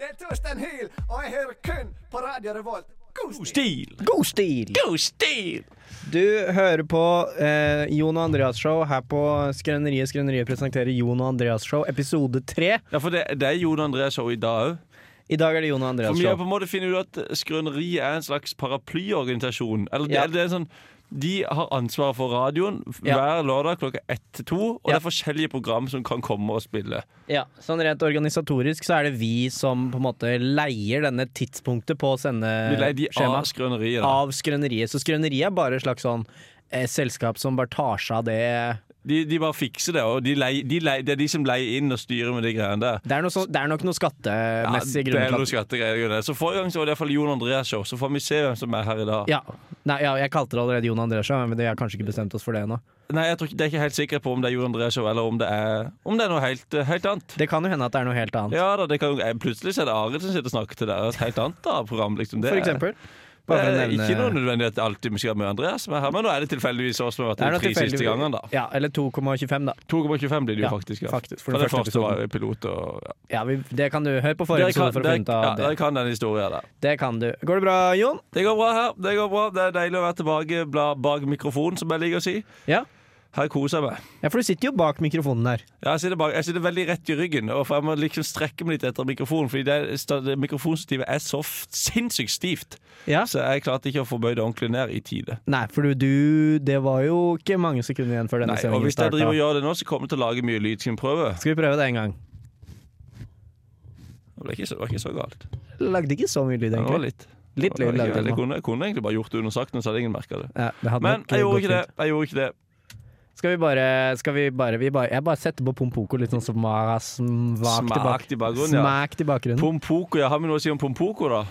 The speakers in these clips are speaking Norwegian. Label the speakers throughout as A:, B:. A: Det er Torstein Hyl, og jeg hører kun på Radio Revolt. God stil!
B: God stil!
C: God stil!
B: Du hører på eh, Jon og Andreas show her på Skrøneriet. Skrøneriet presenterer Jon og Andreas show episode tre.
C: Ja, for det, det er Jon André Show i dag òg.
B: I dag er det Jon og Andreas
C: For vi har på
B: show.
C: en måte funnet ut at Skrøneriet er en slags paraplyorganisasjon. Eller det,
B: Ja.
C: det er en sånn de har ansvaret for radioen f-
B: Ja.
C: hver lørdag klokka ett til to. Og
B: Ja.
C: det er forskjellige program som kan komme og spille.
B: Ja, sånn rent organisatorisk så er det vi som på en måte leier denne tidspunktet på
C: Vi leier de av
B: sendeskjemaet
C: Skrøneriet. da.
B: Eh, av Skrøneriet. Så Skrøneriet er bare et slags sånn eh, selskap som bare tar seg av det
C: De, de bare fikser det. Og de lei, de lei, det er de som leier inn og styrer med de greiene der.
B: Det er, noe sånn- det er nok noen
C: Ja,
B: skattemessige
C: det er
B: grunner
C: noe
B: til at
C: skattegreier. der. Så Forrige gang så var det iallfall Jon Andreas show, så får vi se hvem som er her i dag.
B: ja. Nei, ja, jeg kalte det allerede Jon Andreas show, men vi har kanskje ikke bestemt oss for det ennå.
C: Nei, jeg tror ikke, Det er ikke helt sikker på om det er Jon Andreas show, eller om det er, om det er noe helt, eh, helt annet.
B: Det kan jo hende at det er noe helt annet.
C: Ja da, det kan, jo- eh, Plutselig så er det Arild som sitter og snakker til dere. Et helt annet da, program. liksom det
B: For
C: er-
B: eksempel.
C: Det
B: Bare for å
C: er
B: nevne
C: ikke noe nødvendig at det alltid vi skal ha med Andreas som er her, men nå er det tilfeldigvis oss som har vært
B: Det er
C: de
B: noe
C: tre
B: tilfeldig-
C: siste gangene. da
B: Ja, eller 2,25, da.
C: 2,25 blir det jo
B: Ja,
C: faktisk. Ja.
B: faktisk,
C: For, den første var jo pilot og ja.
B: Ja, vi, Det kan du høre på forrige
C: Dere kan,
B: episode for å
C: dere,
B: finne ut av
C: ja, dere
B: det.
C: kan den historien der.
B: Det kan du. Går det bra, Jon?
C: Det går bra her. Det går bra, det er deilig å være tilbake bla- bak mikrofonen, som jeg liker å si.
B: Ja.
C: Her koser jeg meg.
B: ja, for du sitter jo bak mikrofonen der.
C: Ja, jeg sitter, bak, jeg sitter veldig rett i ryggen, og for jeg må liksom strekke meg litt etter mikrofonen. Fordi det, sta- det mikrofonstativet er så f- sinnssykt stivt,
B: Ja.
C: så jeg klarte ikke å få bøyd det ordentlig ned i tide.
B: Nei, for du, du Det var jo ikke mange sekunder igjen før
C: Nei,
B: denne
C: og
B: sendingen
C: hvis jeg driver og
B: starta.
C: gjør det nå, så kommer jeg til å lage mye lyd. Skal vi prøve?
B: Skal vi prøve det en gang?
C: Det var ikke så, det var ikke så galt.
B: Lagde ikke så mye lyd,
C: Det var
B: egentlig.
C: litt.
B: Litt
C: Det var
B: lyd
C: ikke-
B: lagde
C: Jeg
B: jeg nå.
C: kunne, jeg kunne egentlig bare gjort det under sakten, så hadde ingen merka det.
B: Ja, det hadde
C: Men
B: nok eh,
C: jeg gjorde
B: gått
C: ikke
B: fint. Mm.
C: det. Jeg gjorde ikke det.
B: Skal vi bare, skal vi bare, vi bare Jeg bare setter på Pompoko litt sånn som mm, Mara smak,
C: Smak i bakgrunnen, ja.
B: Smak til bakgrunnen.
C: Pompoko, ja. Har vi noe å si om Pompoko, da?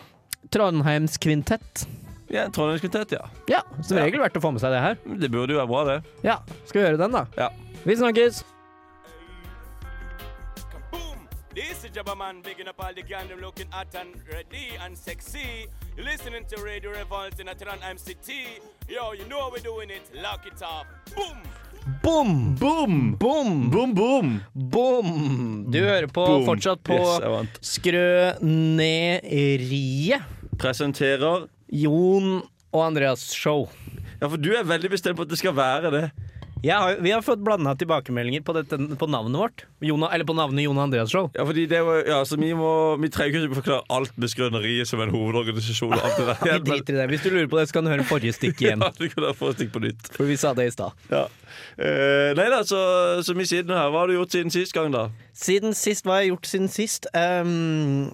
B: Trondheims kvintett.
C: Ja, Trondheimskvintett, ja.
B: Ja, som
C: Ja.
B: regel verdt å få med seg det her.
C: Det burde jo være bra, det.
B: Ja, Skal vi høre den, da?
C: Ja.
B: Vi snakkes!
D: Boom! This is Jabba Man bigging up all the gang them looking hot and ready and sexy. You're listening to Radio Revolt in Atlanta MCT. Yo, you know how we're doing it. Lock it up. Boom!
B: Bom!
C: Boom!
B: Bom!
C: Boom, boom!
B: Bom! Du hører på
C: Boom.
B: fortsatt på
C: Yes, jeg vant.
B: Skrøneriet.
C: Presenterer
B: Jon og Andreas show.
C: Ja, for du er veldig bestemt på at det skal være det.
B: Jeg har, vi har fått blanda tilbakemeldinger på, dette, på navnet vårt. Jona, eller på navnet Jon og Andreas show.
C: Ja, fordi det var, ja, så vi, må, vi trenger ikke forklare alt med Skrøneriet som en hovedorganisasjon. og Alt det der.
B: Vi driter i det. Hvis du lurer på det, så kan du høre forrige stikk igjen.
C: Ja, du kan da få et stikk på nytt.
B: For vi sa det i stad.
C: Ja. Eh, nei da, så, så vi sitter nå her. Hva har du gjort siden sist gang, da?
B: Siden sist, Hva har jeg gjort siden sist? Ehm,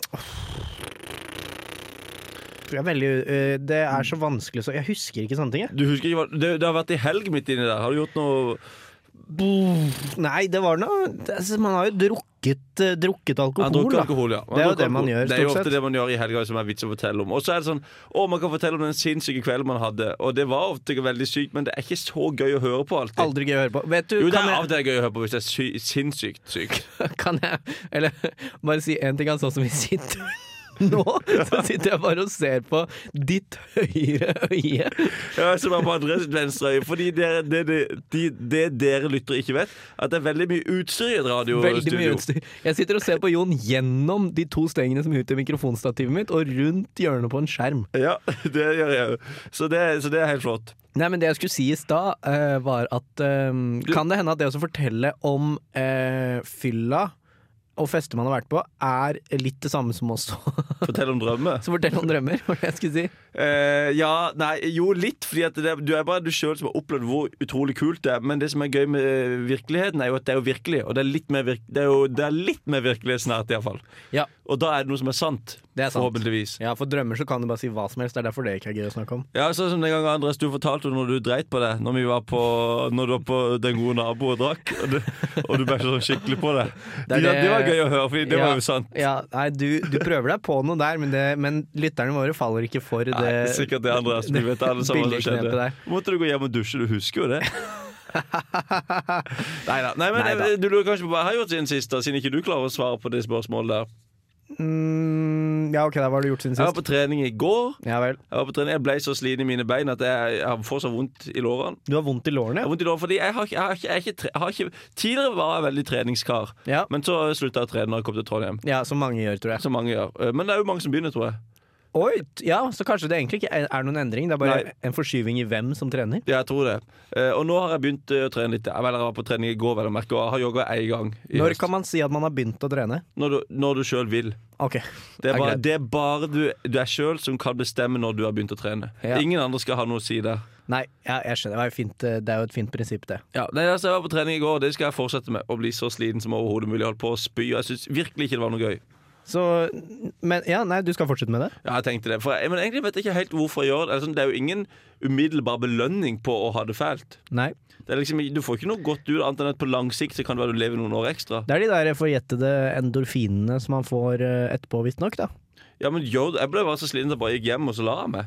B: jeg er veldig, eh, det er så vanskelig så Jeg husker ikke sånne ting. Jeg.
C: Du husker ikke hva, det, det har vært i helg midt inni der. Har du gjort noe
B: Nei, det var noe det, altså, Man har jo drukket, eh, drukket alkohol.
C: Jeg drukket
B: da.
C: alkohol, ja. Jeg
B: Det er jo
C: drukket
B: det man
C: alkohol.
B: gjør,
C: Det er jo
B: stort
C: ofte
B: sett.
C: det man gjør i helga som er vits å fortelle om. Og så er det sånn Å, man kan fortelle om den sinnssyke kvelden man hadde. Og det var ofte veldig sykt, men det er ikke så gøy å høre på alltid.
B: Aldri gøy å høre på. Vet du,
C: Jo, det
B: kan
C: er av og
B: jeg,
C: til gøy å høre på hvis det er sy sinnssykt syk.
B: kan jeg Eller bare si én ting, altså, sånn som vi sitter nå, så sitter jeg bare og ser på ditt høyre øye.
C: Ja, som er på andres venstre øye. Fordi dere, det, det, de, det dere lyttere ikke vet, at det er veldig mye utstyr i et
B: Veldig mye
C: radiostudio.
B: utstyr. Jeg sitter og ser på Jon gjennom de to stengene som er ute i mikrofonstativet mitt, og rundt hjørnet på en skjerm.
C: Ja, det gjør jeg òg. Så, det- så det er helt flott.
B: Nei, men Det jeg skulle si i stad, eh, var at eh, Kan det hende at det å fortelle om eh, fylla og fester man har vært på, er litt det samme som også
C: Fortell om drømmer.
B: Så fortell om drømmer, var det jeg skulle si.
C: Eh, ja, nei, jo litt. Fordi at det, du er bare du sjøl som har opplevd hvor utrolig kult det er. Men det som er gøy med eh, virkeligheten, er jo at det er jo virkelig. Og det er litt mer, virk, det er jo, det er litt mer virkelig snart, iallfall.
B: Ja,
C: Og da er det noe som er sant.
B: Det er sant.
C: Forhåpentligvis.
B: ja for drømmer så kan du bare si hva som helst. Det er derfor det ikke er gøy å snakke om.
C: Ja, sånn som den gangen Andres, du fortalte jo når du dreit på det Når, vi var på, når du var på Den gode nabo og drakk Og du, og du bæsja sånn skikkelig på det det,
B: Det
C: ja,
B: er det-
C: det var gøy å høre, for det
B: ja,
C: var jo sant
B: Ja, nei, du, du prøver deg på noe der, men, det, men lytterne våre faller ikke for det.
C: Nei, sikkert det Andres, vi vet alle sammen hva som
B: billigknepet
C: skjedde
B: der.
C: Måtte du gå hjem og dusje, du husker jo det Neida, Nei, men eh,
B: Neida.
C: du lurer kanskje på hva jeg har gjort siden sist da, Siden ikke du klarer å svare på det spørsmålet der
B: Mm, ehm, ja, ok, da, hva har du gjort siden
C: Jeg var
B: sist?
C: på trening i går.
B: Ja vel.
C: Jeg, var på trening. jeg ble så sliten i mine bein at jeg, jeg har fortsatt vondt i lårene.
B: Du har vondt i lårene?
C: Jeg har vondt i lårene fordi jeg har, ikke- jeg har, ikke- jeg har, ikke, tre- jeg har ikke Tidligere var jeg veldig treningskar,
B: Ja.
C: men så slutta jeg å trene når jeg kom til Trondheim.
B: Ja, som mange gjør, tror jeg.
C: Som mange gjør. Eh, Men det er jo mange som begynner, tror jeg.
B: Oi, t- ja, Så kanskje det egentlig ikke er- er noen endring? Det er bare
C: Nei.
B: en forskyving i hvem som trener?
C: Ja, jeg tror det. Eh, Og nå har jeg begynt eh, å trene litt. Jeg vel, jeg var på trening i går, vel å merke, og jeg har jogga én gang. i
B: Når
C: høst.
B: kan man si at man har begynt å trene?
C: Når du, når du sjøl vil.
B: Ok,
C: Det er bare,
B: greit.
C: det er bare du, du er sjøl som kan bestemme når du har begynt å trene.
B: Ja.
C: Ingen andre skal ha noe å si der.
B: Nei, ja, jeg skjønner. Det er, jo fint, eh, det er jo et fint prinsipp, det.
C: Ja, nei, altså, Jeg var på trening i går, det skal jeg fortsette med. Å bli så sliten som overhodet mulig. Jeg Holdt på å spy. Og jeg syns virkelig ikke det var noe gøy.
B: Så, men ja, nei, du skal fortsette med det?
C: Ja, jeg tenkte det. For jeg, men egentlig vet jeg ikke helt hvorfor jeg gjør det. Altså, det er jo ingen umiddelbar belønning på å ha det fælt.
B: Nei.
C: Det er liksom, du får ikke noe godt ut, annet enn at på lang sikt så kan det være du lever noen år ekstra.
B: Det er de der forjettede endorfinene som man får eh, etterpå, visstnok, da.
C: Ja, men gjør det. Jeg ble bare så sliten at jeg bare gikk hjem, og så la jeg meg.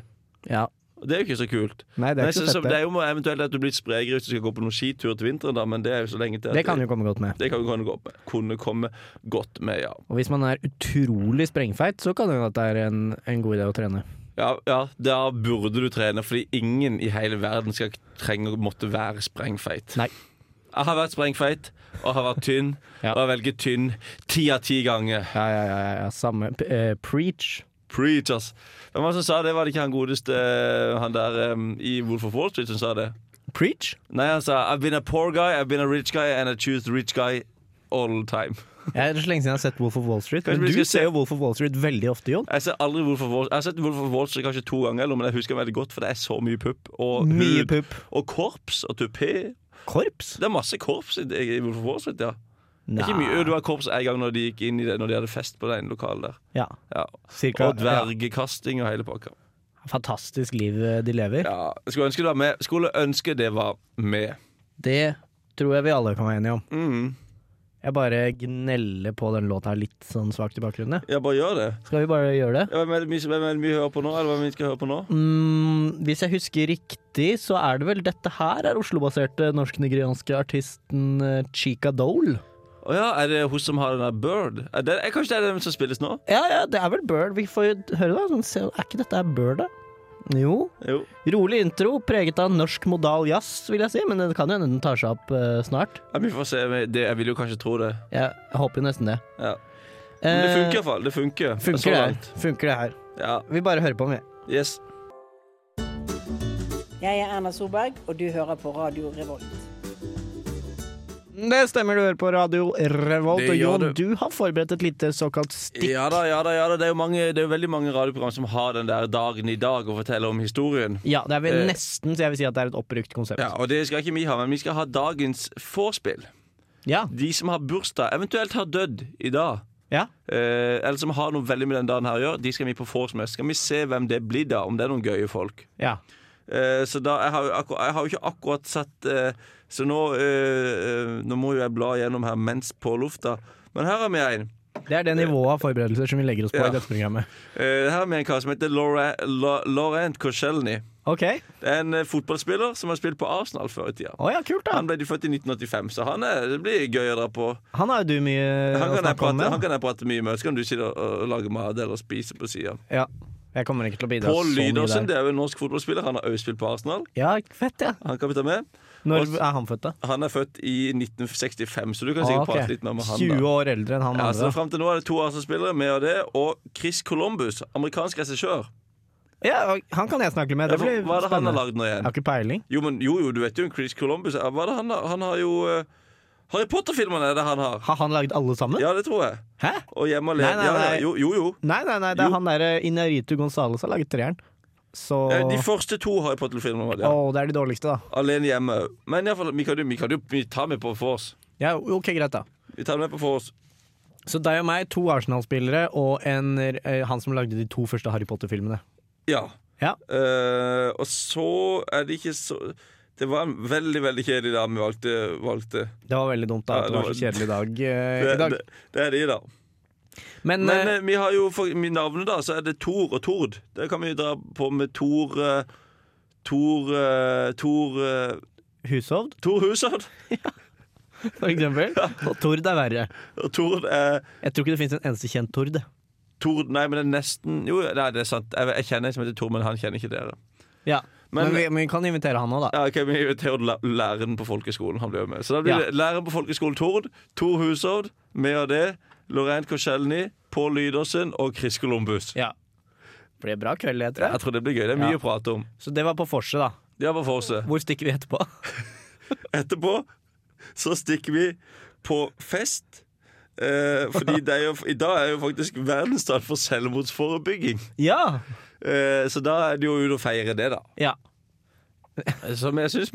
B: Ja.
C: Og Det er jo ikke så kult.
B: Nei, det
C: Nei,
B: er
C: så,
B: ikke så
C: så,
B: fett,
C: det er
B: det.
C: jo eventuelt at du blir litt sprekere hvis du skal gå på noen skitur til vinteren, da, men det er jo så lenge til. at
B: Det kan jo komme godt med.
C: Det kan jo kunne, gå med, kunne komme godt med, ja.
B: Og hvis man er utrolig sprengfeit, så kan det hende at det er en, en god idé å trene.
C: ja. Ja, da burde du trene, fordi ingen i hele verden skal trenge å måtte være sprengfeit.
B: Nei.
C: Jeg har vært sprengfeit, og har vært tynn,
B: Ja.
C: og jeg velger tynn ti av ti ganger.
B: Ja, ja, ja, ja, ja samme. P eh, preach.
C: Preach, ass. Hvem var det som sa det? Var det ikke han godeste eh, han der eh, i Wolf of Wall Street som sa det?
B: Preach?
C: Nei, han sa I've been a poor guy, I've been a rich guy, and I choose the rich guy all the time.
B: Jeg er så lenge siden jeg har sett Wolf of Wall Street.
C: Kanskje
B: Men
C: vi
B: du
C: skal se-
B: ser jo Wolf of Wall Street veldig ofte, Jon.
C: Jeg ser aldri Wolf of Wall Jeg har sett Wolf of Wall Street kanskje to ganger, eller, men jeg husker den veldig godt, for det er så mye pupp. Og
B: Mye
C: hud,
B: pupp.
C: og korps og tupé.
B: Korps?
C: Det er masse korps i i Wolf of Wall Street, ja. Det
B: Nei.
C: er ikke mye. Det var korps en gang når de gikk inn i det Når de hadde fest på det ene lokalet der.
B: Ja.
C: Ja.
B: Cirka,
C: Og dvergekasting og hele pakka.
B: Ja. Fantastisk liv eh, de lever.
C: Ja. Jeg skulle ønske det var med. Jeg Skulle ønske det var med.
B: Det tror jeg vi alle kan være enige om.
C: Mm.
B: Jeg bare gneller på den låta her litt sånn svakt i bakgrunnen. jeg.
C: Jeg bare gjør det.
B: Skal vi bare gjøre det?
C: Ja, Hvem er det vi- hvem er det vi hører på nå? Eller hvem er det vi skal høre på nå?
B: Mm, hvis jeg husker riktig, så er det vel dette her er Oslo-baserte norsk-nigerianske artisten eh, Chica Dole.
C: Å ja, er det hun som har den der Bird? Er det, er, kanskje det er den som spilles nå?
B: Ja, ja, det er vel Bird. Vi får jo høre, da. Sånn, se, er ikke dette her Bird, da? Jo.
C: Jo.
B: Rolig intro, preget av norsk modal jazz, vil jeg si. Men det kan jo hende den tar seg opp eh, snart.
C: Ja, vi får se. Det, jeg vil jo kanskje tro det.
B: Jeg håper jo nesten det.
C: Ja. Men det funker iallfall. Det funker.
B: Eh, funker
C: Så
B: det,
C: langt.
B: her. funker det her.
C: Ja.
B: Vi bare hører på, vi.
C: Yes.
E: Jeg er Erna Solberg, og du hører på Radio Revolt.
B: Det stemmer, du hører på Radio Revolt.
C: Det
B: Og
C: gjør
B: Jon, du har forberedt et lite såkalt stikk.
C: Ja da, ja da. ja da Det er jo, mange, det er jo veldig mange radioprogram som har den der dagen i dag og forteller om historien.
B: Ja, det er vel
C: Eh.
B: nesten så jeg vil si at det er et oppbrukt konsept.
C: Ja, Og det skal ikke vi ha, men vi skal ha dagens vorspiel.
B: Ja.
C: De som har bursdag, eventuelt har dødd i dag,
B: ja.
C: eh, eller som har noe veldig med den dagen her å gjøre, de skal vi på vors med. Så Skal vi se hvem det blir da, om det er noen gøye folk.
B: ja.
C: Eh, så da, jeg har, jo akkur- jeg har jo ikke akkurat sett eh, Så nå, eh, eh, nå må jo jeg bla gjennom her mens på lufta. Men her har vi en.
B: Det er det nivået av forberedelser som vi legger oss på
C: Ja.
B: i dette programmet.
C: Eh, her har vi en kar som heter Laura, La, Laurent Koscielny.
B: Ok.
C: Det er en eh, fotballspiller som har spilt på Arsenal før i tida.
B: Å ja, kult, da.
C: Han ble født i 1985, så han er, det blir gøy å dra på.
B: Han har jo du mye
C: Han
B: å
C: kan, jeg
B: snakke Eh, om
C: prate,
B: med.
C: han kan jeg prate mye med, så kan du sitte og, og lage mat eller spise på sida.
B: Ja. Jeg kommer ikke til å bidra
C: Pål
B: så
C: Lydersen
B: mye der.
C: det er jo en norsk fotballspiller. Han har også spilt på Arsenal.
B: Ja, fett, ja.
C: Han kan vi ta med.
B: Når
C: Og-
B: er han født, da?
C: Han er født i 1965, så du kan sikkert
B: Ah, ok.
C: prate litt mer med han. da.
B: 20 år eldre enn han
C: Ja, så
B: andre.
C: Fram til nå er det to Arsenal-spillere, med og det, og Chris Columbus, amerikansk regissør.
B: da. Ja, og han kan jeg snakke med.
C: Ja,
B: Det
C: for
B: blir
C: Hva er det han har
B: spennende.
C: lagd nå
B: Jeg
C: igjen?
B: har ikke peiling.
C: Jo, men, jo, jo, du vet jo hvem Chris Columbus er. Hva er det han har? Han har jo eh, Harry Potter-filmene er det han har.
B: Har han lagd alle sammen?
C: Ja, det tror jeg.
B: Hæ?
C: Og Hjemme alene.
B: Nei, nei,
C: Ja, ja,
B: nei.
C: jo, jo. jo.
B: Nei, nei, nei, det er
C: Jo.
B: han derre Inaritu Gonzales har laget treeren. Så
C: Eh, De første to Harry Potter-filmene var det.
B: Å,
C: Ja.
B: det er de dårligste, da.
C: Alene hjemme òg. Men iallfall, vi kan jo- vi kan jo vi tar med på vors.
B: Ja, ok, greit, da.
C: Vi tar med på vors.
B: Så deg og meg, to Arsenal-spillere og en, eh, han som lagde de to første Harry Potter-filmene.
C: Ja.
B: Ja.
C: Eh, og så er det ikke så Det var en veldig, veldig kjedelig dag vi valgte. valgte.
B: Det var veldig dumt da, at det var så kjedelig dag eh, i
C: Det,
B: dag.
C: det, det er de, da.
B: Men,
C: Men
B: eh,
C: eh, vi har jo for med navnet, da, så er det Tor og Tord. Det kan vi jo dra på med Tor eh, Tor eh, Tor eh,
B: Hushovd,
C: Tor Hushovd.
B: for eksempel. Og Tord er verre.
C: Og Tord er
B: Jeg tror ikke det finnes en eneste kjent Tord.
C: Tor Nei, men det er nesten Jo, nei, det er sant. Jeg, jeg kjenner en som heter Tor, men han kjenner ikke dere.
B: Ja. Men,
C: Men-
B: vi, men vi kan invitere han òg, da.
C: Ja, ok, Vi inviterer la- læreren på folkeskolen. Han blir jo med. Så da blir
B: Ja.
C: det læreren på folkeskolen Tord, Tor Hushovd, med av det, Lorraine Korselny, Pål Lydersen og Chris Columbus.
B: Ja. Det blir bra kveld, jeg tror jeg.
C: Jeg tror det blir gøy. Det er mye
B: Ja.
C: å prate om.
B: Så det var på Forse, da.
C: Det var for seg.
B: Hvor stikker vi etterpå?
C: Etterpå så stikker vi på fest. Eh, fordi det er jo, i dag er jo faktisk verdensdag for selvmordsforebygging.
B: Ja!
C: Eh, så da er det jo ute å feire det, da.
B: ja. Eh,
C: Som jeg syns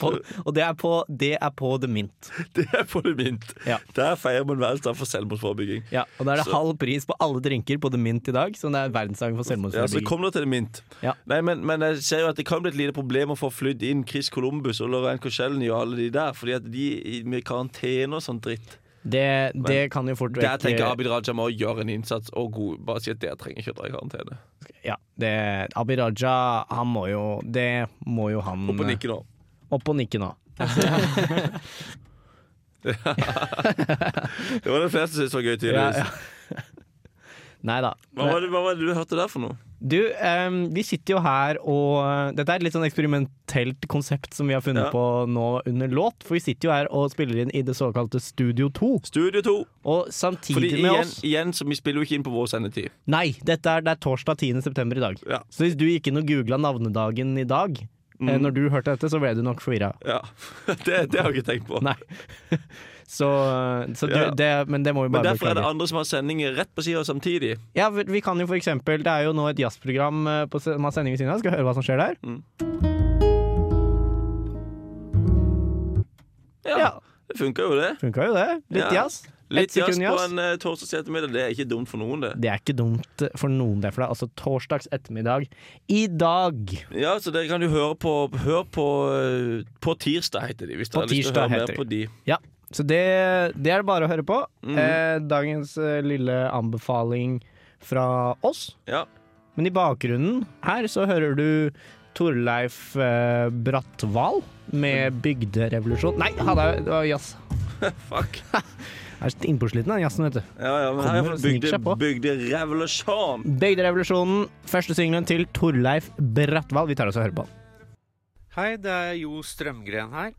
B: På, og det er, på, det er på The Mint.
C: Det er på det mint.
B: Ja.
C: Der feirer man verdensdag for selvmordsforebygging.
B: Ja, og da er det
C: Så-
B: halv pris på alle drinker på The Mint i dag, som det er verdensdagen for
C: Ja, så
B: selvmordsforebygging.
C: kom da til det mint.
B: Ja.
C: Nei, men, men jeg ser jo at det kan bli et lite problem å få flydd inn Chris Columbus og Lorraine Korselny og alle de der, fordi at de i- med karantene og sånn dritt.
B: det, det kan jo fort
C: Der tenker
B: vekk
C: Abid Raja må gjøre en innsats og god, bare si at dere trenger ikke å dra i karantene.
B: ja, det, Abid Raja, han må jo Det må jo han eh,
C: Opp og nikke nå.
B: Opp og nikke nå.
C: Det var det fleste som syntes var gøy, tydeligvis.
B: Nei da.
C: Hva, var det, hva var det du hørte der for noe?
B: Du, ehm, vi sitter jo her og Dette er et litt sånn eksperimentelt konsept som vi har funnet
C: Ja.
B: på nå under låt. For vi sitter jo her og spiller inn i det såkalte Studio 2.
C: Studio 2.
B: Og
C: Fordi
B: samtidig med
C: igjen,
B: oss
C: igjen så vi spiller jo ikke inn på vår sendetid.
B: Nei, dette er, det er torsdag 10. september i dag.
C: Ja.
B: Så hvis du gikk inn og googla navnedagen i dag,
C: Mm.
B: eh, når du hørte dette, så ble du nok forvirra.
C: Ja, Det, det har jeg ikke tenkt på.
B: Nei. så så du,
C: Ja.
B: det, men det må vi
C: Men
B: bare
C: derfor er det
B: beklage.
C: andre som har sendinger rett på sida samtidig.
B: Ja, vi vi kan jo for eksempel Det er jo nå et jazzprogram eh, på se- som har sending ved siden av. Skal vi høre hva som skjer
C: Mm.
B: der?
C: Ja,
B: Ja.
C: Det funker jo, det.
B: Funka jo det. Litt
C: Ja.
B: jazz.
C: Litt
B: Ett
C: jazz
B: sekund
C: på en eh, torsdags ettermiddag, det er ikke dumt for noen, det.
B: Det er ikke dumt for noen, det. For det er altså torsdags ettermiddag i dag.
C: Ja, så dere kan jo høre på Hør på eh, På tirsdag, heter de. Hvis
B: På
C: dere har lyst til å
B: tirsdag
C: høre mer
B: heter de.
C: på de.
B: Ja. Så det, det er det bare å høre på. eh, dagens eh, lille anbefaling fra oss.
C: Ja.
B: Men i bakgrunnen her så hører du Torleif eh, Brattval med 'Bygderevolusjon'. Nei, han er, det var jazz.
C: Fuck.
B: Er så innpåsliten den jazzen, vet du.
C: Ja, ja, men
B: Kommer
C: her er
B: og
C: for
B: sniker
C: bygde,
B: seg på.
C: bygderevolusjon.
B: 'Bygderevolusjonen', første singelen til Torleif Brattval. Vi tar oss og hører på.
F: Hei, det er Jo Strømgren her.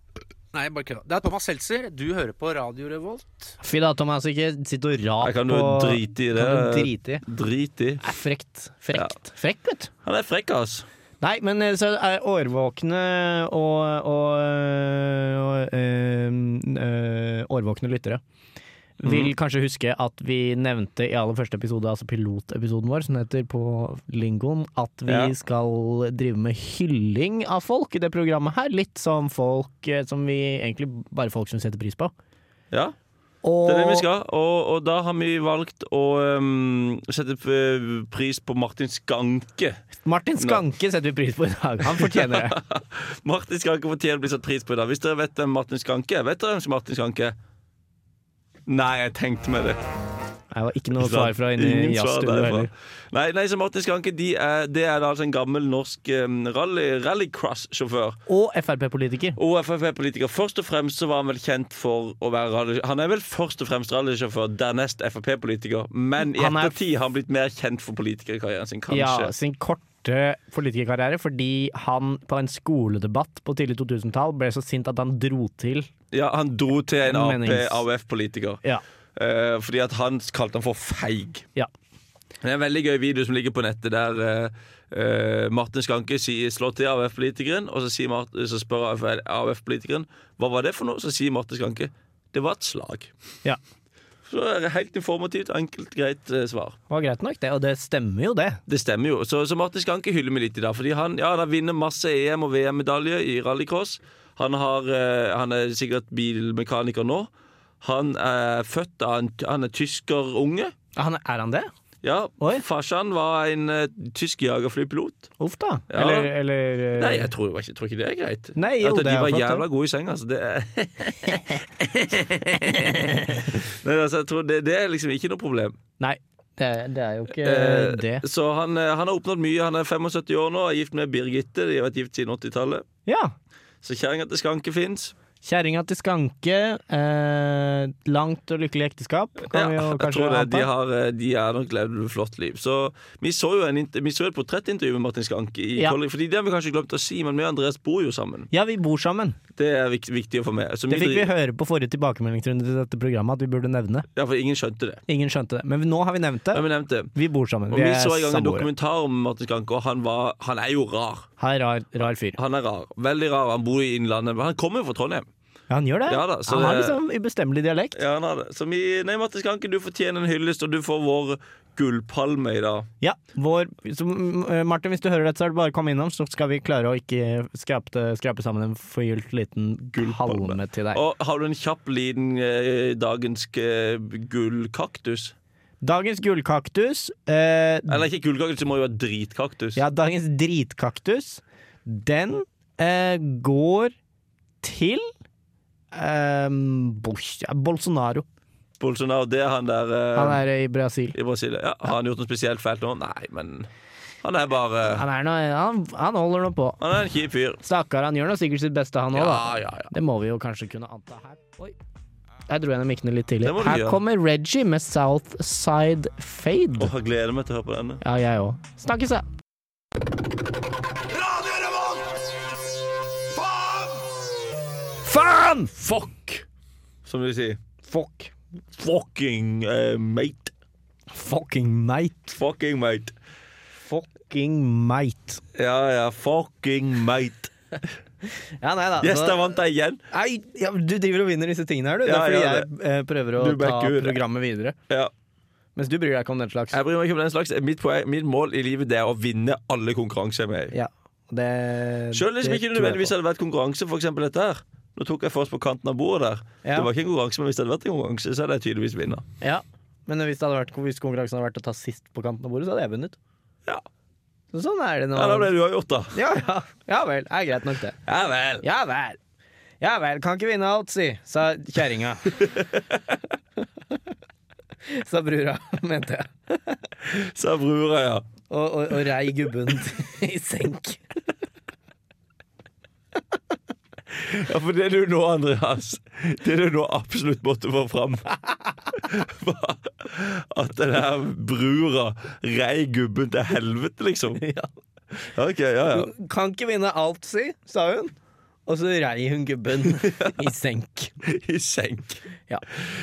F: Nei, bare kødda. Det er Thomas Seltzer. Du hører på Radio Revolt.
B: Fy da, Thomas, ikke sitt og rap
C: Jeg kan
B: på
C: jo drite i det.
B: Kan du drite i.
C: Drit i.
B: er frekt. Frekt. Frekk, vet du.
C: Han er frekk, ass.
B: Nei, men eh, så er årvåkne og, og, og eh, eh, Årvåkne lyttere
C: Mhm.
B: vil kanskje huske at vi nevnte i aller første episode, altså pilotepisoden vår, som det heter på lingoen, at vi
C: Ja.
B: skal drive med hylling av folk i det programmet her. Litt som folk eh, som vi egentlig bare folk som setter pris på.
C: Ja,
B: Og
C: det er det vi skal. Og, og da har vi valgt å ehm, sette eh, pris på Martin Skanke.
B: Martin Skanke setter vi pris på i dag. Han fortjener det.
C: Martin Skanke fortjener å bli satt pris på i dag. Hvis dere vet hvem Martin Skanke er, vet dere hvem som er Martin Skanke er? Nei, jeg tenkte meg det.
B: Det var ikke noe svar fra inni
C: Ingen svar
B: jazzstudioet
C: derfra.
B: heller.
C: Nei, nei, så Martin Skanke de er, det er da altså en gammel norsk um, rally, rallycross-sjåfør.
B: Og Frp-politiker.
C: Og Frp-politiker. Først og fremst så var han vel kjent for å være rally... Han er vel først og fremst rallysjåfør, dernest Frp-politiker. Men i
B: Han er-
C: ettertid har han blitt mer kjent for politikerkarrieren sin,
B: Ja,
C: kanskje.
B: sin korte politikerkarriere fordi han på en skoledebatt på tidlig 2000-tall ble så sint at han dro til.
C: Ja, han dro til en
B: Menings.
C: Ap-AUF-politiker.
B: Ja.
C: Eh, fordi at han kalte han for feig.
B: ja.
C: Det er en veldig gøy video som ligger på nettet der eh, eh, Martin Skanke sier, slår til AUF-politikeren, og så, sier Mart, så spør AUF-politikeren hva var det for noe, så sier Martin Skanke det var et slag.
B: ja.
C: Så er det helt informativt, enkelt, greit eh, svar.
B: Det var greit nok, det. Og det stemmer jo, det.
C: Det stemmer jo. Så, så Martin Skanke hyller vi litt i dag, fordi han, ja, han har vinner masse EM- og VM-medaljer i rallycross. Han, har, eh, han er sikkert bilmekaniker nå. Han er født av en, han er tyskerunge.
B: Han, er han det?
C: Ja,
B: Oi.
C: farsan var en eh, tysk jagerflypilot.
B: Uff da.
C: Ja.
B: Eller, eller eh,
C: Nei, jeg tror, jeg tror ikke det er greit.
B: Nei, jo,
C: At
B: det
C: de
B: er
C: var
B: flott,
C: jævla
B: det.
C: gode i senga, altså. Det er Nei, altså, jeg tror det, det er liksom ikke noe problem.
B: Nei. Det, det er jo ikke
C: Eh,
B: det.
C: Så han, eh, han har oppnådd mye. Han er 75 år nå og er gift med Birgitte. De har vært gift siden 80-tallet.
B: Ja.
C: Så kjerringa til Skanke fins.
B: Kjerringa til Skanke. Eh, langt og lykkelig ekteskap. Kan vi jo
C: Ja, jeg
B: kanskje
C: tror det. De
B: anta.
C: har, eh, de har nok levd et flott liv. Så Vi så jo en, int- vi så et portrettintervju med Martin Skanke. I
B: Ja.
C: Kollek- Fordi Det har vi kanskje glemt å si, men vi og Andreas bor jo sammen.
B: Ja, vi bor sammen.
C: Det er viktig, viktig å få med. Så
B: Det fikk vi
C: driver-
B: høre på forrige tilbakemeldingsrunde til dette programmet at vi burde nevne.
C: ja, for Ingen skjønte det.
B: Ingen skjønte det. Men nå har vi nevnt
C: Ja,
B: det.
C: vi nevnte det.
B: Vi bor sammen.
C: Og
B: Vi
C: vi
B: er
C: så en gang en
B: samboere.
C: dokumentar om Martin Skanke, og han, var, han er jo rar.
B: Han er rar, rar fyr.
C: Han er rar. Veldig rar. Han bor i Innlandet. men Han kommer jo fra Trondheim.
B: Ja, han gjør det.
C: Ja da, så
B: han har
C: det-
B: liksom ubestemmelig dialekt.
C: Ja, han har det. Så vi, nei, Martin Skanke, du fortjener en hyllest, og du får vår gullpalme i dag.
B: Ja, vår, så, mm, Martin, hvis du hører dette, så er det bare å komme innom, så skal vi klare å ikke skrape, det- skrape sammen en forgylt liten palme til deg.
C: Og har du en kjapp liten eh, dagens eh, gullkaktus?
B: Dagens gullkaktus eh,
C: Eller ikke gullkaktus, det må jo være dritkaktus.
B: Ja, dagens dritkaktus, den eh, går til eh, Bush- ja, Bolsonaro.
C: Bolsonaro, det er han der eh,
B: Han er i Brasil.
C: i Brasil. Ja, har han gjort noe spesielt fælt nå? Nei, men han er bare
B: Han, er noe, han, han holder nå på.
C: Han er en kjip fyr.
B: Stakkar, han gjør nå sikkert sitt beste, han òg,
C: Ja,
B: da.
C: ja, ja.
B: Det må vi jo kanskje kunne anta her. Oi. Der dro jeg ned mikkene litt tidlig.
C: Det må du
B: Her
C: gjøre.
B: kommer Reggie med Southside Fade.
C: Åh, jeg gleder meg til å høre på denne.
B: Ja, jeg òg. Snakkes, da. Faen!
C: Fuck! Som de sier.
B: Fuck.
C: Fucking eh, mate.
B: Fucking mate.
C: Fucking mate.
B: Fucking mate.
C: Ja, ja, fucking mate.
B: Ja, nei da.
C: Yes,
B: så-
C: der vant jeg igjen.
B: Nei, ja, du driver og vinner disse tingene her, du.
C: Ja,
B: det er fordi
C: ja,
B: jeg eh, prøver å
C: Du
B: ta
C: backer ut.
B: programmet videre.
C: Ja.
B: Mens du bryr deg ikke om den slags.
C: Jeg bryr meg ikke om den slags. Mitt, poeng, mitt mål i livet det er å vinne alle konkurranser jeg er med i.
B: Ja, det
C: Selv hvis
B: det
C: det liksom ikke
B: tror jeg
C: nødvendigvis
B: på.
C: hadde vært konkurranse, for eksempel dette her. Nå tok jeg først på kanten av bordet der. Det
B: Ja.
C: var ikke en konkurranse, men hvis det hadde vært en konkurranse, så hadde jeg tydeligvis vinner.
B: Ja, men hvis, det hadde vært, hvis konkurransen hadde vært å ta sist på kanten av bordet, så hadde jeg vunnet.
C: Ja.
B: Så sånn er det nå.
C: Ja, det er det du har gjort, da.
B: ja, ja. ja vel, det er greit nok det.
C: Ja vel.
B: Ja vel. Ja vel, kan ikke vinne alt, si, sa kjerringa. sa brura, mente jeg.
C: Sa brura, ja.
B: Og, og, og rei gubben i senk.
C: ja. For det du nå, Andreas, det du nå absolutt måtte få fram, var at den her brura rei gubben til helvete, liksom.
B: Ja.
C: Ok, ja, ja.
B: Kan ikke vinne alt, si, sa hun. Og så rei hun gubben i senk.
C: I senk.
B: Ja.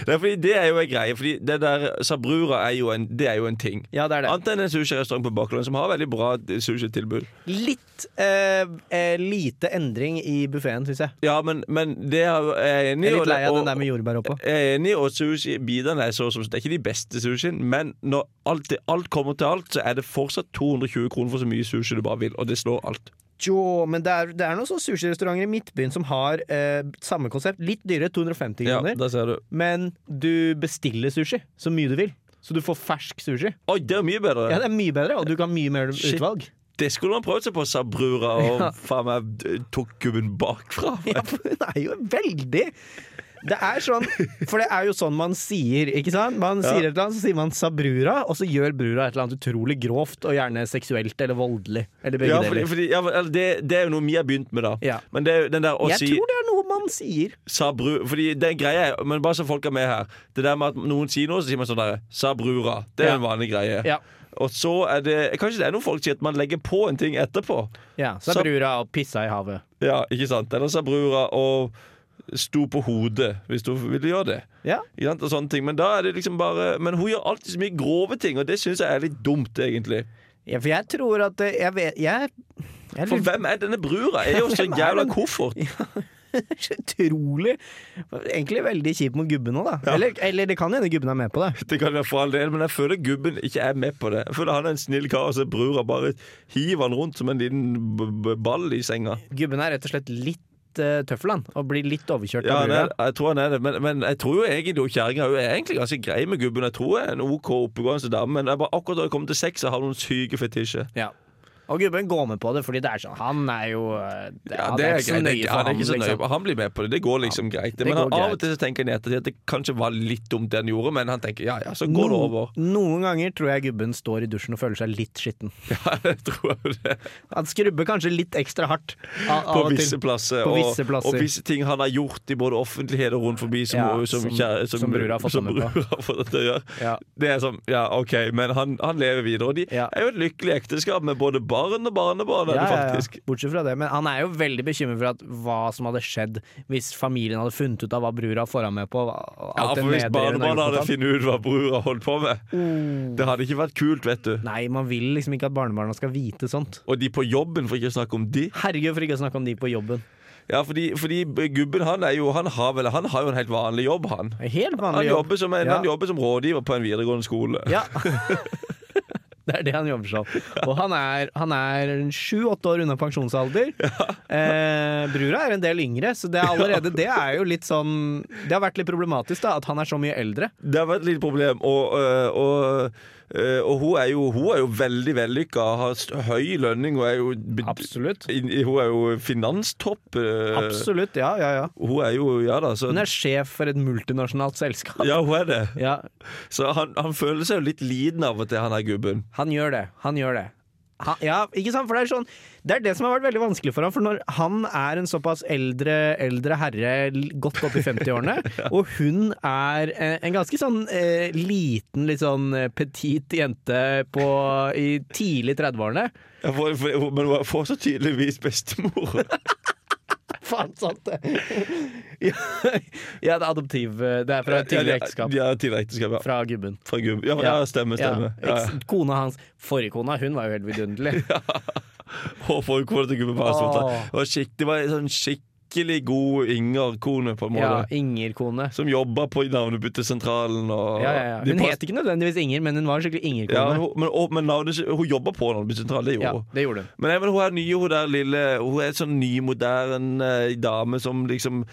C: Nei, fordi det er jo en greie. Fordi det der sa brura er jo en, det er jo en ting.
B: Ja, det er det.
C: Annet enn en sushirestaurant på Bakkeland som har veldig bra sushitilbud.
B: Litt eh, eh, lite endring i buffeen, syns jeg.
C: Ja, men, men det er jeg er enig i.
B: Jeg er
C: og det-
B: litt lei av
C: og-
B: den der med jordbær oppå.
C: Jeg er enig, og sushi-bitene er så som Det er ikke de beste sushien, men når alt, til- alt kommer til alt, så er det fortsatt 220 kroner for så mye sushi du bare vil, og det slår alt.
B: Jo, men det er, det er noen sånne sushirestauranter i Midtbyen som har eh, samme konsept. Litt dyrere, 250
C: Ja,
B: kroner.
C: der ser du.
B: Men du bestiller sushi så mye du vil. Så du får fersk sushi.
C: Oi, det er mye bedre!
B: Ja,
C: det...
B: Det er mye bedre, og du kan ha mye mer
C: Shit.
B: utvalg.
C: skulle han prøvd seg på, sa brura, og
B: Ja.
C: faen meg d- tok gubben bakfra.
B: Ja, for hun er jo veldig Det er sånn For det er jo sånn man sier, ikke sant? Man sier et eller annet, så sier man 'sa brura', og så gjør brura et eller annet utrolig grovt, og gjerne seksuelt eller voldelig. Eller begge
C: Ja, fordi,
B: deler.
C: fordi, ja, eller det, det er jo noe vi har begynt med, da.
B: Ja.
C: Men det er jo den der å
B: Jeg
C: si
B: tror det er noe man sier.
C: sa bru, Fordi det er en greie, men bare så folk er med her. Det der med at noen sier noe, så sier man sånn derre Sa brura. Det er
B: Ja.
C: en vanlig greie.
B: Ja.
C: Og så er det Kanskje det er noen folk sier at man legger på en ting etterpå.
B: Ja, sa
C: Så-
B: brura og pissa i havet.
C: Ja, ikke sant? Eller sa brura og sto på hodet, hvis du ville gjøre det.
B: Ja.
C: Ikke sant? Og sånne ting. Men da er det liksom bare Men hun gjør alltid så mye grove ting, og det syns jeg er litt dumt, egentlig.
B: Ja, for jeg tror at eh, Jeg vet Jeg, jeg
C: For
B: lurer
C: hvem er denne brura? Er jo så
B: Hvem er
C: jævla
B: den?
C: koffert.
B: så utrolig Egentlig veldig kjipt mot gubben òg, da. Eller, eller det kan hende gubben er med på det.
C: Det kan være for all del, men jeg føler gubben ikke er med på det. Jeg føler han er en snill kar, og så brura bare hiver han rundt som en liten b b ball i senga.
B: Gubben er rett og slett litt uh, tøffel, han. Og blir litt overkjørt
C: Ja,
B: av
C: han
B: brura.
C: er, jeg tror han er det, men, men jeg tror jo egentlig jo kjerringa hun er egentlig ganske grei med gubben. Jeg tror hun er en OK oppegående dame, men jeg bare, akkurat da jeg kommer til sex, så har hun noen syke fetisjer.
B: Ja. Og gubben går med på det, fordi det er sånn Han er jo eh, det,
C: Ja,
B: han
C: det er
B: ikke så
C: greit. Det er
B: nøye
C: ikke-
B: for
C: Han er
B: ham,
C: ikke så nøye
B: liksom.
C: på Han blir med på det. Det går liksom greit.
B: det
C: Men han,
B: går
C: av og
B: greit.
C: til så tenker han i ettertid at det kanskje var litt dumt det han gjorde, men han tenker ja ja, så går det
B: Noen-
C: over.
B: Noen ganger tror jeg gubben står i dusjen og føler seg litt skitten.
C: Ja, jeg tror det.
B: Han skrubber kanskje litt ekstra hardt av, av
C: På
B: og til.
C: visse plasser.
B: På
C: og-
B: visse
C: Og
B: plasser.
C: visse ting han har gjort i både offentlighet og rundt forbi som,
B: Ja,
C: som,
B: som-
C: kjære-
B: som bror har fått
C: som
B: ham med på.
C: bror har fått ham til å gjøre.
B: Ja.
C: Det er sånn, ja OK, men han, han lever videre. Og de
B: Ja.
C: er jo et lykkelig ekteskap med både barn og barnebarn, er det
B: Ja, ja, ja.
C: faktisk.
B: Bortsett fra det, men han er jo veldig bekymret for at hva som hadde skjedd hvis familien hadde funnet ut av hva brura får ham med på. hva- alt
C: Ja,
B: det
C: for hvis
B: nedrige hun har
C: barnebarnet
B: gjort mot
C: hadde
B: ham.
C: funnet ut hva bror har holdt på med Det hadde ikke vært kult, vet du.
B: Oh. Nei, man vil liksom ikke at barnebarna skal vite sånt.
C: Og de på jobben, for ikke å snakke om de.
B: Herregud, for ikke å snakke om de på jobben.
C: Ja, fordi, fordi gubben han er jo han har, vel, han har jo en helt vanlig jobb, han.
B: En Helt
C: Han
B: vanlig jobb.
C: jobber som, en,
B: Ja.
C: han jobber som rådgiver på en videregående skole.
B: Ja. Det er det han jobber som. Og han er, han er sju-åtte år unna pensjonsalder. Eh, brura er en del yngre, så det er allerede det er jo litt sånn Det har vært litt problematisk da, at han er så mye eldre.
C: Det har vært et lite problem, og, øh, og, øh, og hun, er jo, hun er jo veldig vellykka, har st- høy lønning og er jo be-
B: Absolutt.
C: i- i- Hun er jo finanstopp. øh,
B: Absolutt, ja, ja, ja.
C: Hun er jo Ja da, så
B: Hun er sjef for et multinasjonalt selskap.
C: Ja, hun er det.
B: Ja,
C: Så han, han føler seg jo litt liten av og til, han her gubben.
B: han gjør det. Han gjør det. Han, ja, ikke sant? For det er sånn Det er det som har vært veldig vanskelig for ham. For når han er en såpass eldre, eldre herre l- godt opp i 50-årene, og hun er en, en ganske sånn eh, liten, litt sånn eh, petit jente på, i tidlig 30-årene
C: Ja, for, for, hun- men hun er fortsatt tydeligvis bestemor.
B: Faen, sant det! ja, ja, det er adoptiv eh, Det er fra et tidligere ekteskap.
C: Ja, tidligere ekteskap, ja.
B: Fra gubben.
C: Fra gubben. Ja, ja, stemmer, stemmer.
B: Ja.
C: Ja, ja.
B: Eks- Kona hans, forrige kona, hun var jo helt vidunderlig.
C: Og folk var til gubben på Hasselholt, da.
B: Åh.
C: Det var skikk- Det var en sånn skikkelig god Inger-kone, på en måte.
B: Ja, Inger-kone.
C: Som jobba på navnebyttesentralen. Og
B: Ja, ja, ja.
C: De
B: Hun
C: pass-
B: het ikke nødvendigvis Inger, men hun var skikkelig
C: ja,
B: Inger-kone.
C: hun, men, og, men navnet, hun jobba på navnebyttesentralen, det
B: Ja,
C: gjorde hun.
B: det gjorde hun.
C: Men, nei, men hun er ny, hun der lille Hun er en sånn ny, moderne eh, dame som liksom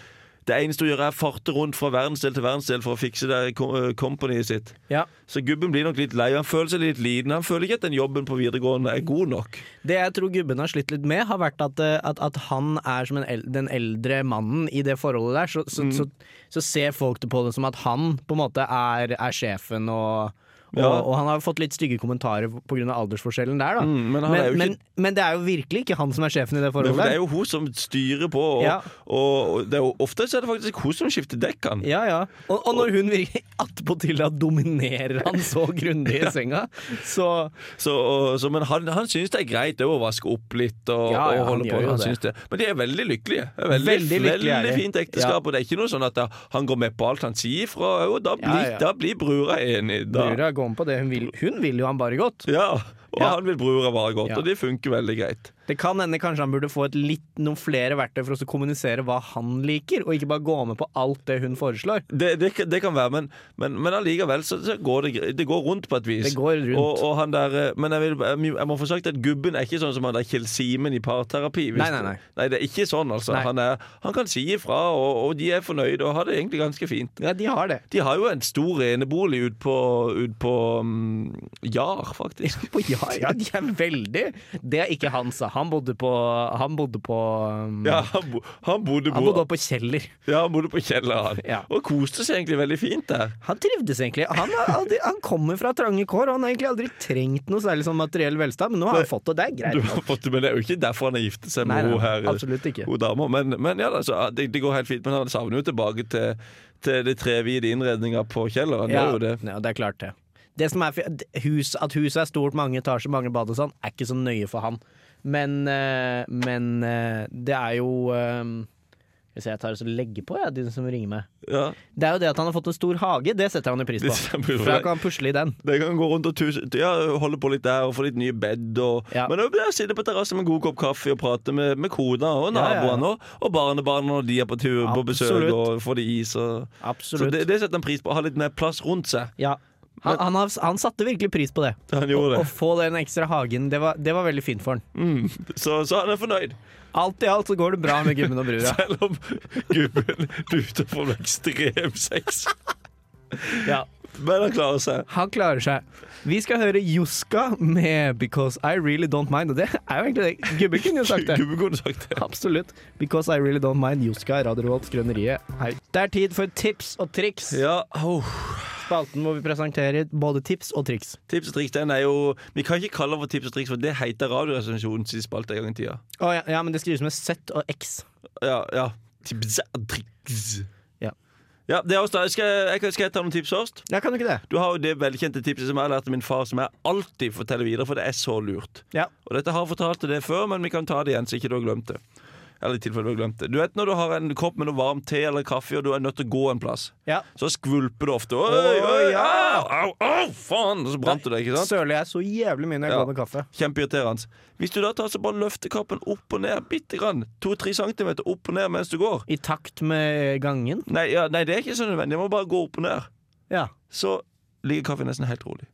C: Det eneste hun gjør, er å farte rundt fra verdensdel til verdensdel for å fikse det co- eh, companyet sitt.
B: Ja.
C: Så gubben blir nok litt lei. og Han føler seg litt liten. Han føler ikke at den jobben på videregående er god nok.
B: Det jeg tror gubben har slitt litt med, har vært at, eh, at, at han er som en el den eldre mannen i det forholdet der. Så,
C: Mm.
B: så, så, så, ser folk det på det som at han på en måte er, er sjefen og og,
C: Ja.
B: og han har fått litt stygge kommentarer pga. aldersforskjellen der, da.
C: Mm, men han er jo
B: men,
C: ikke-
B: men det er jo virkelig ikke han som er sjefen i
C: Men
B: det forholdet.
C: for det er jo hun som styrer på, og,
B: Ja.
C: og, og det er jo, ofte så er det faktisk hun som skifter dekk. Han.
B: Ja, ja. Og, og når hun virkelig attpåtil da dominerer han så grundig i senga, så
C: Så, og, så, men han, han syns det er greit det å vaske opp litt og,
B: Ja, ja,
C: og holde
B: han
C: på.
B: gjør jo
C: Han
B: det.
C: synes det. Men de er veldig lykkelige. Det er Veldig,
B: Veldig
C: veldig,
B: lykkelige er de.
C: fint ekteskap. Og det er ikke noe sånn at da, han går med på alt han sier fra, og da blir,
B: Ja, ja.
C: da blir brura enig. Da.
B: Brura går med på det. Hun vil, hun vil jo han bare godt.
C: Ja, og
B: Ja.
C: han vil brura være godt,
B: Ja.
C: og det funker veldig greit.
B: Det kan hende kanskje han burde få et litt, noen flere verktøy for å kommunisere hva han liker, og ikke bare gå med på alt det hun foreslår.
C: Det, det, kan- det kan være, men, men, men allikevel så, så går det, gre- det går rundt på et vis.
B: Det går rundt.
C: Og, og han der, eh, men jeg, vil, jeg må få sagt at gubben er ikke sånn som han der Kjell Simen i parterapi. hvis
B: Nei, nei,
C: det-
B: nei.
C: nei, det er ikke sånn, altså.
B: Nei.
C: Han, er, han kan si ifra, og, og de er fornøyde og har det egentlig ganske fint.
B: Ja, de har det.
C: De har jo en stor enebolig ut på, ut på mm, Jar, faktisk.
B: På ja, ja, de er veldig Det er ikke han, sa. Han bodde på Han bodde på um,
C: Ja, han, bo, han, bodde
B: Han
C: bo,
B: bodde oppe på Kjeller.
C: ja, han bodde på kjelleren, han.
B: Ja.
C: Og koste seg egentlig veldig fint der.
B: Han trivdes egentlig. Han, har aldri, han kommer fra trange kår, og han har egentlig aldri trengt noe særlig sånn materiell velstand, men nå har han fått det, og det er
C: Du
B: greit.
C: har fått, men det er jo ikke derfor han har giftet seg
B: Nei,
C: med
B: nei,
C: hun her. eh,
B: absolutt ikke.
C: Hun dama. Men, men ja, altså, det, det går helt fint. Men han savner jo tilbake til, til det trevide innredninga på kjelleren. Det
B: Ja,
C: er jo det.
B: ja, det er klart det. det som er, fi- hus, at huset er stort, mange etasjer, mange bad og sånn, er ikke så nøye for han. Men, eh, men eh, det er jo eh, Hvis jeg tar og så legger på, jeg, de som ringer meg.
C: Ja,
B: Det er jo det at han har fått en stor hage, det setter han jo pris
C: Det
B: på.
C: stemmer jo
B: For
C: det.
B: da kan han pusle i den.
C: det kan gå rundt og tuse, ja, holde på litt der og få litt nye bed. Og,
B: Ja.
C: Men òg sitte på terrassen med en god kopp kaffe og prate med, med kona og
B: Ja, ja, ja.
C: naboene. Og, og barnebarna når de er på tur på besøk
B: Absolutt.
C: og får de is. Og, så
B: Absolutt.
C: det, det setter han pris på. Ha litt mer plass rundt seg.
B: ja. han, han, har, han satte virkelig pris på det.
C: Han gjorde
B: Å
C: det. Mm.
B: få den ekstra hagen, det var, det var veldig fint for han.
C: Så, så han er fornøyd.
B: Alt i alt så går det bra med gubben og brura.
C: Selv om gubben blir ute for noe ekstrem sex.
B: Ja.
C: men han klarer seg.
B: Han klarer seg. Vi skal høre Joska med 'Because I Really Don't Mind'. Og det er jo egentlig det. Gubbe kunne jo sagt det.
C: Gubbe kunne sagt det.
B: Absolutt. 'Because I Really Don't Mind', Joska, Radio Revolt, Grønneriet. Hei. Det er tid for tips og triks.
C: Ja, oh.
B: Spalten hvor vi presenterer både tips og triks.
C: Tips og triks, den er jo Vi kan ikke kalle det for tips og triks, for det heter Radioresepsjonens spalte en gang i tida.
B: Å ja, ja, men det skrives med Z og X.
C: Ja, ja. Tips og triks.
B: Ja.
C: Ja, det er også, da. skal, jeg, kan- skal jeg ta noen tips først?
B: Ja, kan du ikke det?
C: Du har jo det velkjente tipset som jeg lærte min far, som jeg alltid forteller videre, for det er så lurt.
B: Ja.
C: Og dette har jeg fortalt deg det før, men vi kan ta det igjen, så ikke du har glemt det. Eller i tilfelle du har glemt det. Du vet når du har en kopp med noe varm te eller kaffe, og du er nødt til å gå en plass,
B: ja.
C: så skvulper du ofte. Oi, oi,
B: ja.
C: au, au, au, faen! Og så brant du deg, ikke sant?
B: Søler jeg så jævlig mye når jeg
C: Ja.
B: går med kaffe.
C: Kjempeirriterende. Hvis du da tar så bare løfter kappen opp og ned bitte grann, to-tre centimeter opp og ned mens du går
B: I takt med gangen.
C: Nei, ja, nei det er ikke så nødvendig. Du må bare gå opp og ned.
B: Ja.
C: Så ligger kaffen nesten helt rolig.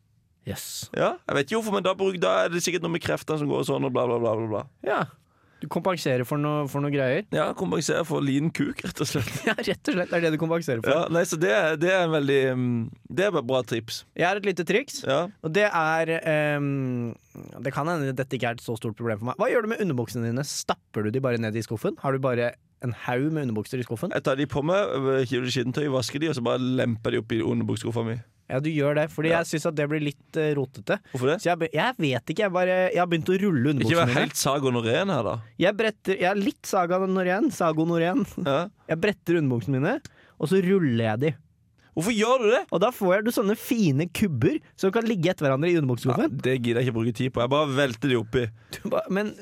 B: Yes.
C: Ja, Jeg vet ikke hvorfor, men da, bruk, da er det sikkert noe med kreftene som går sånn, og bla, bla, bla. bla, bla.
B: Ja. Du kompenserer for noe, for noe greier.
C: Ja, Kompensere for liten kuk, rett og slett.
B: Ja, rett og slett. Det er det du kompenserer for.
C: Ja, nei, så det, er- det er en veldig mm, Det er bare bra tips.
B: Jeg har et lite triks.
C: Ja.
B: Og det er ehm, Det kan hende dette ikke er et så stort problem for meg. Hva gjør du med underbuksene dine? Stapper du de bare ned i skuffen? Har du bare en haug med underbukser i skuffen?
C: Jeg tar de på meg, øh, hiver de i skitentøy, vasker de, og så bare lemper de opp i underbuksskuffa mi.
B: Ja, du gjør det, fordi
C: Ja.
B: jeg syns at det blir litt eh, rotete.
C: Hvorfor det?
B: Så jeg, be- jeg vet ikke, jeg bare Jeg har begynt å rulle
C: Ikke vær
B: underbuksene mine.
C: helt Saga Norén her, da.
B: Jeg bretter Jeg er litt Saga Norén. Sago Norén.
C: Ja.
B: Jeg bretter underbuksene mine, og så ruller jeg de.
C: Hvorfor gjør du det?
B: Og da får jeg du sånne fine kubber som kan ligge etter hverandre i
C: Ja,
B: underbukseskuffen.
C: det gidder jeg ikke bruke tid på. Jeg bare velter de oppi.
B: Du bare- Men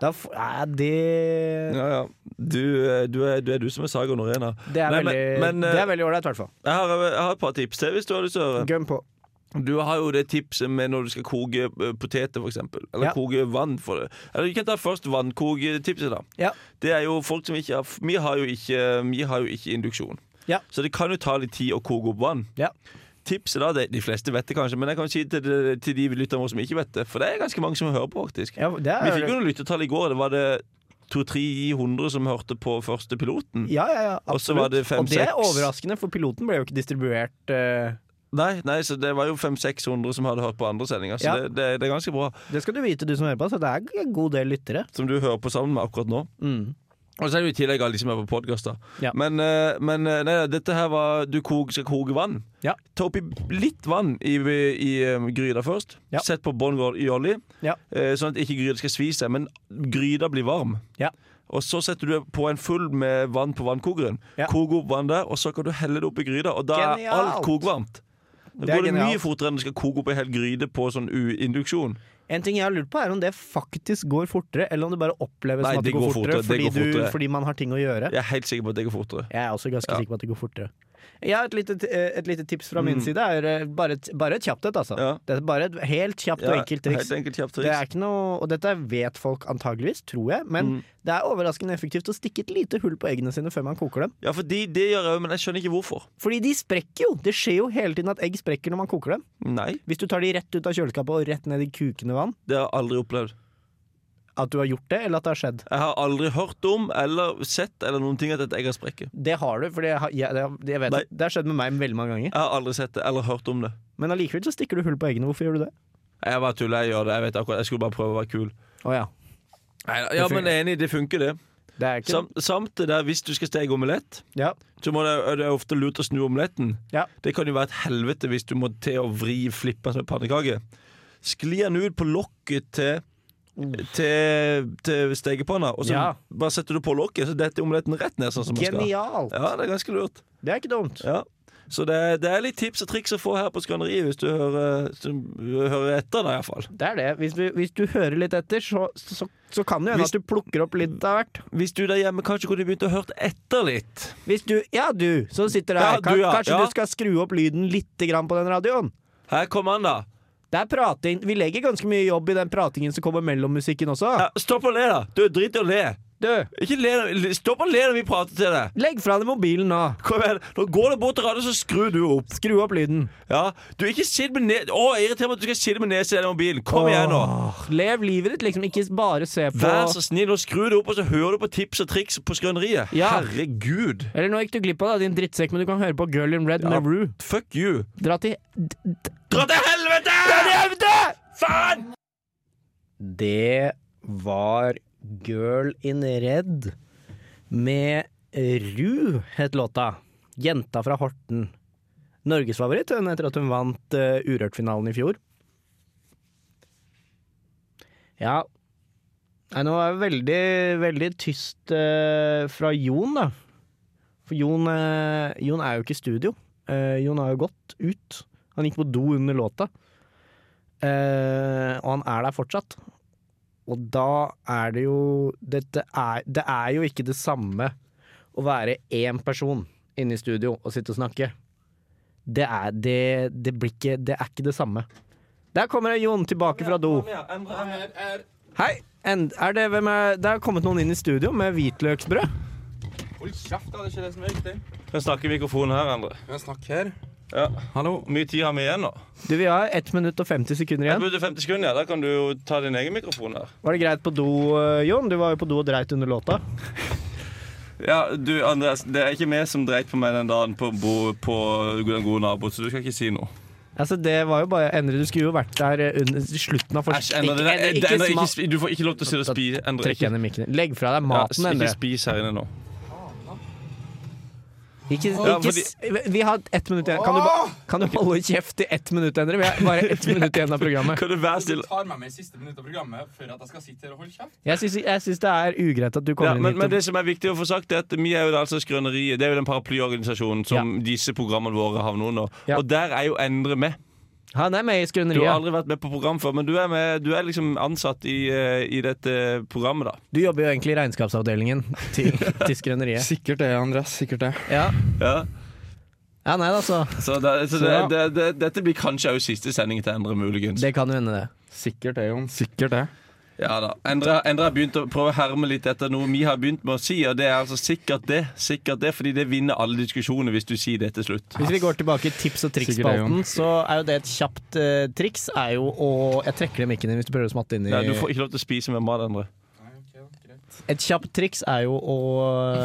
B: da får Nei, det
C: Ja, ja. Du, eh, du, er, du er du som er Saga Norena.
B: Det er
C: Nei, men-
B: veldig
C: men, eh,
B: Det er veldig ålreit, i hvert fall.
C: Jeg har, jeg har et par tips til hvis du har lyst til å høre.
B: Gønn på.
C: Du har jo det tipset med når du skal koke eh, poteter, for eksempel. Eller
B: Ja.
C: koke vann. For det. Eller vi kan ta først vannkoketipset, da.
B: Ja.
C: Det er jo folk som ikke har Vi har jo ikke, vi har jo ikke induksjon.
B: Ja.
C: Så det kan jo ta litt tid å koke opp vann.
B: Ja.
C: Tipset da, det, De fleste vet det kanskje, men jeg kan si til, de- til de lytterne våre som ikke vet det, for det er ganske mange som hører på, faktisk.
B: Ja, det
C: Vi fikk jo
B: er,
C: noen lyttetall i går. Det var det 200-300 som hørte på første piloten.
B: ja, ja, ja,
C: Og så var det fem,
B: Og det er
C: seks.
B: overraskende, for piloten ble jo ikke distribuert eh,
C: Nei, nei, så det var jo 500-600 som hadde hørt på andre sendinger, så
B: Ja.
C: det, det, det er ganske bra.
B: Det skal du vite, du som hører på, så det er en god del lyttere.
C: Som du hører på sammen med akkurat nå.
B: Mm.
C: Og så er det jo i tillegg alle de som er på podkast, da.
B: Ja.
C: Men, eh, men eh, nei, nei, dette her var Du kok, skal koke vann.
B: Ja.
C: Ta oppi litt vann i, i eh, gryta først.
B: Ja.
C: Sett på bånn gr- i olje,
B: Ja.
C: eh, sånn at ikke gryta skal svi seg. Men gryta blir varm.
B: Ja.
C: Og så setter du på en full med vann på vannkokeren.
B: Ja.
C: Koke opp vann der, og så kan du helle det opp i gryta, og da er
B: Genialt!
C: alt kokvarmt. Da
B: Det er
C: går det mye
B: genialt.
C: fortere enn du skal koke opp ei hel gryte på sånn u- induksjon.
B: En ting jeg har lurt på, er om det faktisk går fortere, eller om det bare oppleves
C: Nei,
B: som at det går fortere,
C: det
B: fordi,
C: går fortere.
B: Du, fordi man har ting å gjøre.
C: Jeg er helt sikker på at det går fortere.
B: Jeg er også ganske
C: Ja.
B: sikker på at det går fortere. Jeg har et lite, eh, et lite tips fra min side. Er eh, bare, et- bare et kjapt et, altså.
C: Mm. Ja.
B: Det er bare et helt kjapt og
C: Ja,
B: enkelt triks.
C: Helt enkelt kjapt
B: Det
C: triks.
B: er ikke noe, og dette vet folk antageligvis, tror jeg, men det er overraskende effektivt å stikke et lite hull på eggene sine før man koker dem.
C: Ja, for de, det gjør jeg òg, men jeg skjønner ikke hvorfor.
B: Fordi de sprekker jo! Det skjer jo hele tiden at egg sprekker når man koker dem.
C: Nei,
B: Hvis du tar de rett ut av kjøleskapet og rett ned i kukende vann,
C: det har jeg aldri opplevd.
B: at du har gjort det, eller at det har skjedd.
C: Jeg har aldri hørt om eller sett eller noen ting at et egg har sprekket.
B: Det har du, for det, har- jeg, det- jeg vet
C: Nei.
B: at det har skjedd med meg veldig mange ganger.
C: Jeg har aldri sett det eller hørt om det.
B: Men allikevel så stikker du hull på eggene. Hvorfor gjør du det?
C: Jeg bare tuller, jeg gjør det. Jeg vet akkurat, jeg skulle bare prøve å være kul.
B: Å ja.
C: Nei, ja, men jeg er enig, det funker, det.
B: Det er ikke
C: Sam, samt det der hvis du skal steke omelett,
B: Ja.
C: så må det, er det ofte lurt å snu omeletten.
B: Ja.
C: Det kan jo være et helvete hvis du må til å vri flippen som en pannekake. Sklir den ut på lokket til til, til stekepanna, og så
B: Ja.
C: bare setter du på lokket, så detter omeletten rett ned. sånn som den skal.
B: Genialt!
C: Ja, det er ganske lurt.
B: Det er ikke dumt.
C: Ja. Så det, er- det er litt tips og triks å få her på Skrøneriet, hvis du hører, hvis du hører etter, da iallfall.
B: Det er det. Hvis du, hvis du hører litt etter, så, så, så kan det jo hende
C: Hvis-
B: at du plukker opp litt av hvert.
C: Hvis du der hjemme kanskje kunne begynt å høre etter litt.
B: Hvis du Ja, du som sitter der.
C: Ja,
B: kan,
C: du, ja.
B: Kanskje
C: Ja.
B: du skal skru opp lyden litt grann på den radioen?
C: Her kommer han, da.
B: Det er prating. Vi legger ganske mye jobb i den pratingen som kommer mellom musikken også.
C: Ja, stopp å le, da! Du, drit i å le.
B: Du,
C: Ikke le, stopp å le når vi prater til deg.
B: legg fra deg mobilen nå.
C: Kom igjen. Nå går det bort til radioen, så skrur du opp.
B: Skru opp lyden.
C: Ja. Du, ikke sitt med ned... Å, irriterer meg at du skal sitte med nesen i den mobilen. Kom igjen, nå.
B: Åh, Lev livet ditt, liksom. Ikke bare se på
C: Vær så snill, nå skrur du opp, og så hører du på tips og triks på skrøneriet.
B: Ja.
C: Herregud.
B: Eller nå gikk du glipp av det, din drittsekk, men du kan høre på Girl in Red med Rue.
C: Fuck you.
B: Dra til d- d-
C: Dra til helvete! Dra til helvete! Faen!
B: Det var Girl in Red med Ru, het låta. Jenta fra Horten. Norgesfavoritt hun etter at hun vant eh, Urørt-finalen i fjor. Ja Nei, nå er det veldig, veldig tyst eh, fra Jon, da. For Jon, eh, Jon er jo ikke i studio. Eh, Jon har jo gått ut. Han gikk på do under låta. Eh, og han er der fortsatt. Og da er det jo Dette er, det er jo ikke det samme å være én person inne i studio og sitte og snakke. Det er, det, det blir ikke, det er ikke det samme. Der kommer det Jon tilbake fra do. Hei! En, er det, hvem er, det er kommet noen inn i studio med hvitløksbrød.
G: Hold kjeft, da. Det er ikke det som er viktig.
C: Kan snakke i mikrofonen her, Endre.
G: Men snakk her.
C: Ja.
G: Hallo.
C: Hvor mye tid har vi igjen nå?
B: Du, vi har 1 minutt og 50 sekunder
C: Jeg
B: igjen.
C: burde 50 sekunder, ja. Da kan du jo ta din egen mikrofon her.
B: Var det greit på do, eh, Jon? Du var jo på do og dreit under låta.
C: Ja, du, Andreas, det er ikke vi som dreit på meg den dagen på, bo, på den gode naboen, så du skal ikke si noe.
B: Altså, det var jo bare Endre, du skulle jo vært der eh, under slutten av
C: Æsj, Endre. det der-
B: Ikke-
C: det- Endre,
B: smak-
C: ikke spi- Du får ikke lov til å sitte og spise. Endre,
B: Trekk
C: ikke,
B: henne i mikken. Legg fra deg
C: ja,
B: maten, Endre.
C: ikke spis her inne nå.
B: Ikke,
C: Ja,
B: ikke, s- vi har ett minutt igjen. Kan du, ba- kan du holde kjeft i ett minutt, Endre? Vi har bare ett minutt igjen av programmet.
C: Kan du være
G: Du
C: stille?
G: tar med meg siste minutt av programmet før at jeg skal sitte her og holde kjeft.
B: Jeg syns, jeg syns det er ugreit at du
C: Ja,
B: kommer
C: men,
B: inn
C: men
B: hit.
C: det som er viktig å få sagt, er at vi er jo det, altså Skrøneriet. Det er jo den paraplyorganisasjonen som disse programmene våre havner under.
B: Ja.
C: Og der er jo Endre med.
B: Og, han er med i
C: Du har
B: Skrøneriet. Du,
C: aldri vært med på program før, men du er, med, du er liksom ansatt i, eh, i dette programmet, da.
B: jobber jo egentlig i regnskapsavdelingen til, til Skrøneriet.
G: Sikkert det, Andreas. Sikkert det.
B: Ja.
C: Ja.
B: ja, nei da, så.
C: Så, det, så
G: Så ja.
C: det, det, det, dette blir kanskje også siste sending til Endre, muligens.
B: Det kan jo hende, det.
G: Sikkert det, Jon. Sikkert det.
C: Ja da. Endre, Endre har begynt å prøve å herme litt etter noe vi har begynt med å si, og det er altså sikkert det. Sikkert det, fordi det vinner alle diskusjoner hvis du sier det til slutt.
B: Hvis vi går tilbake i tips og triks-spalten, så er jo det et kjapt eh, triks. Er jo å Jeg trekker den mikken din hvis du prøver å smatte inn i
C: Nei, du får ikke lov til å spise med mat, Endre.
G: Nei, ok, da, greit.
B: Et kjapt triks er jo å,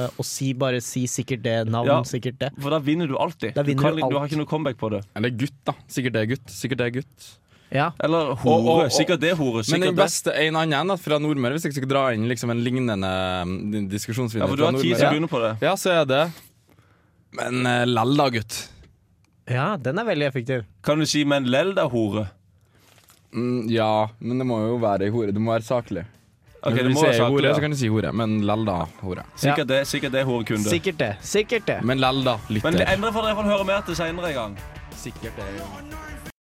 B: å si bare si sikkert det, navn
C: Ja.
B: sikkert det.
C: For da vinner du alltid.
B: Da vinner
C: du,
B: du alt.
C: du har ikke noe comeback på det.
G: Eller gutt, da. Sikkert det, gutt. Sikkert det, gutt.
B: Ja.
C: Eller hore.
G: Og- og- og-
C: sikkert det, hore.
G: Men
C: Sikkert
G: den beste en annen da, fra Nordmøre, hvis jeg skal dra inn liksom en lignende um,
C: det. Ja,
G: diskusjonsvinner
C: for du har ti sekunder på det.
G: Ja, så er det Men uh, lell da, gutt.
B: ja, den er veldig effektiv.
C: Kan du si 'men lell da, hore'?
G: Mm, ja, men det må jo være ei hore. Det må være saklig.
C: Ok,
G: Når
C: det
G: du
C: må være
G: sier hore,
C: saklig.
G: så
C: ja.
G: kan du si hore. Men lell da, hore.
C: Sikkert det, sikkert det, horekunde.
B: Sikkert det. Sikkert det.
G: Men lell da, lytter.
C: Men Endre får i hvert fall høre mer til seinere en gang.
G: sikkert det.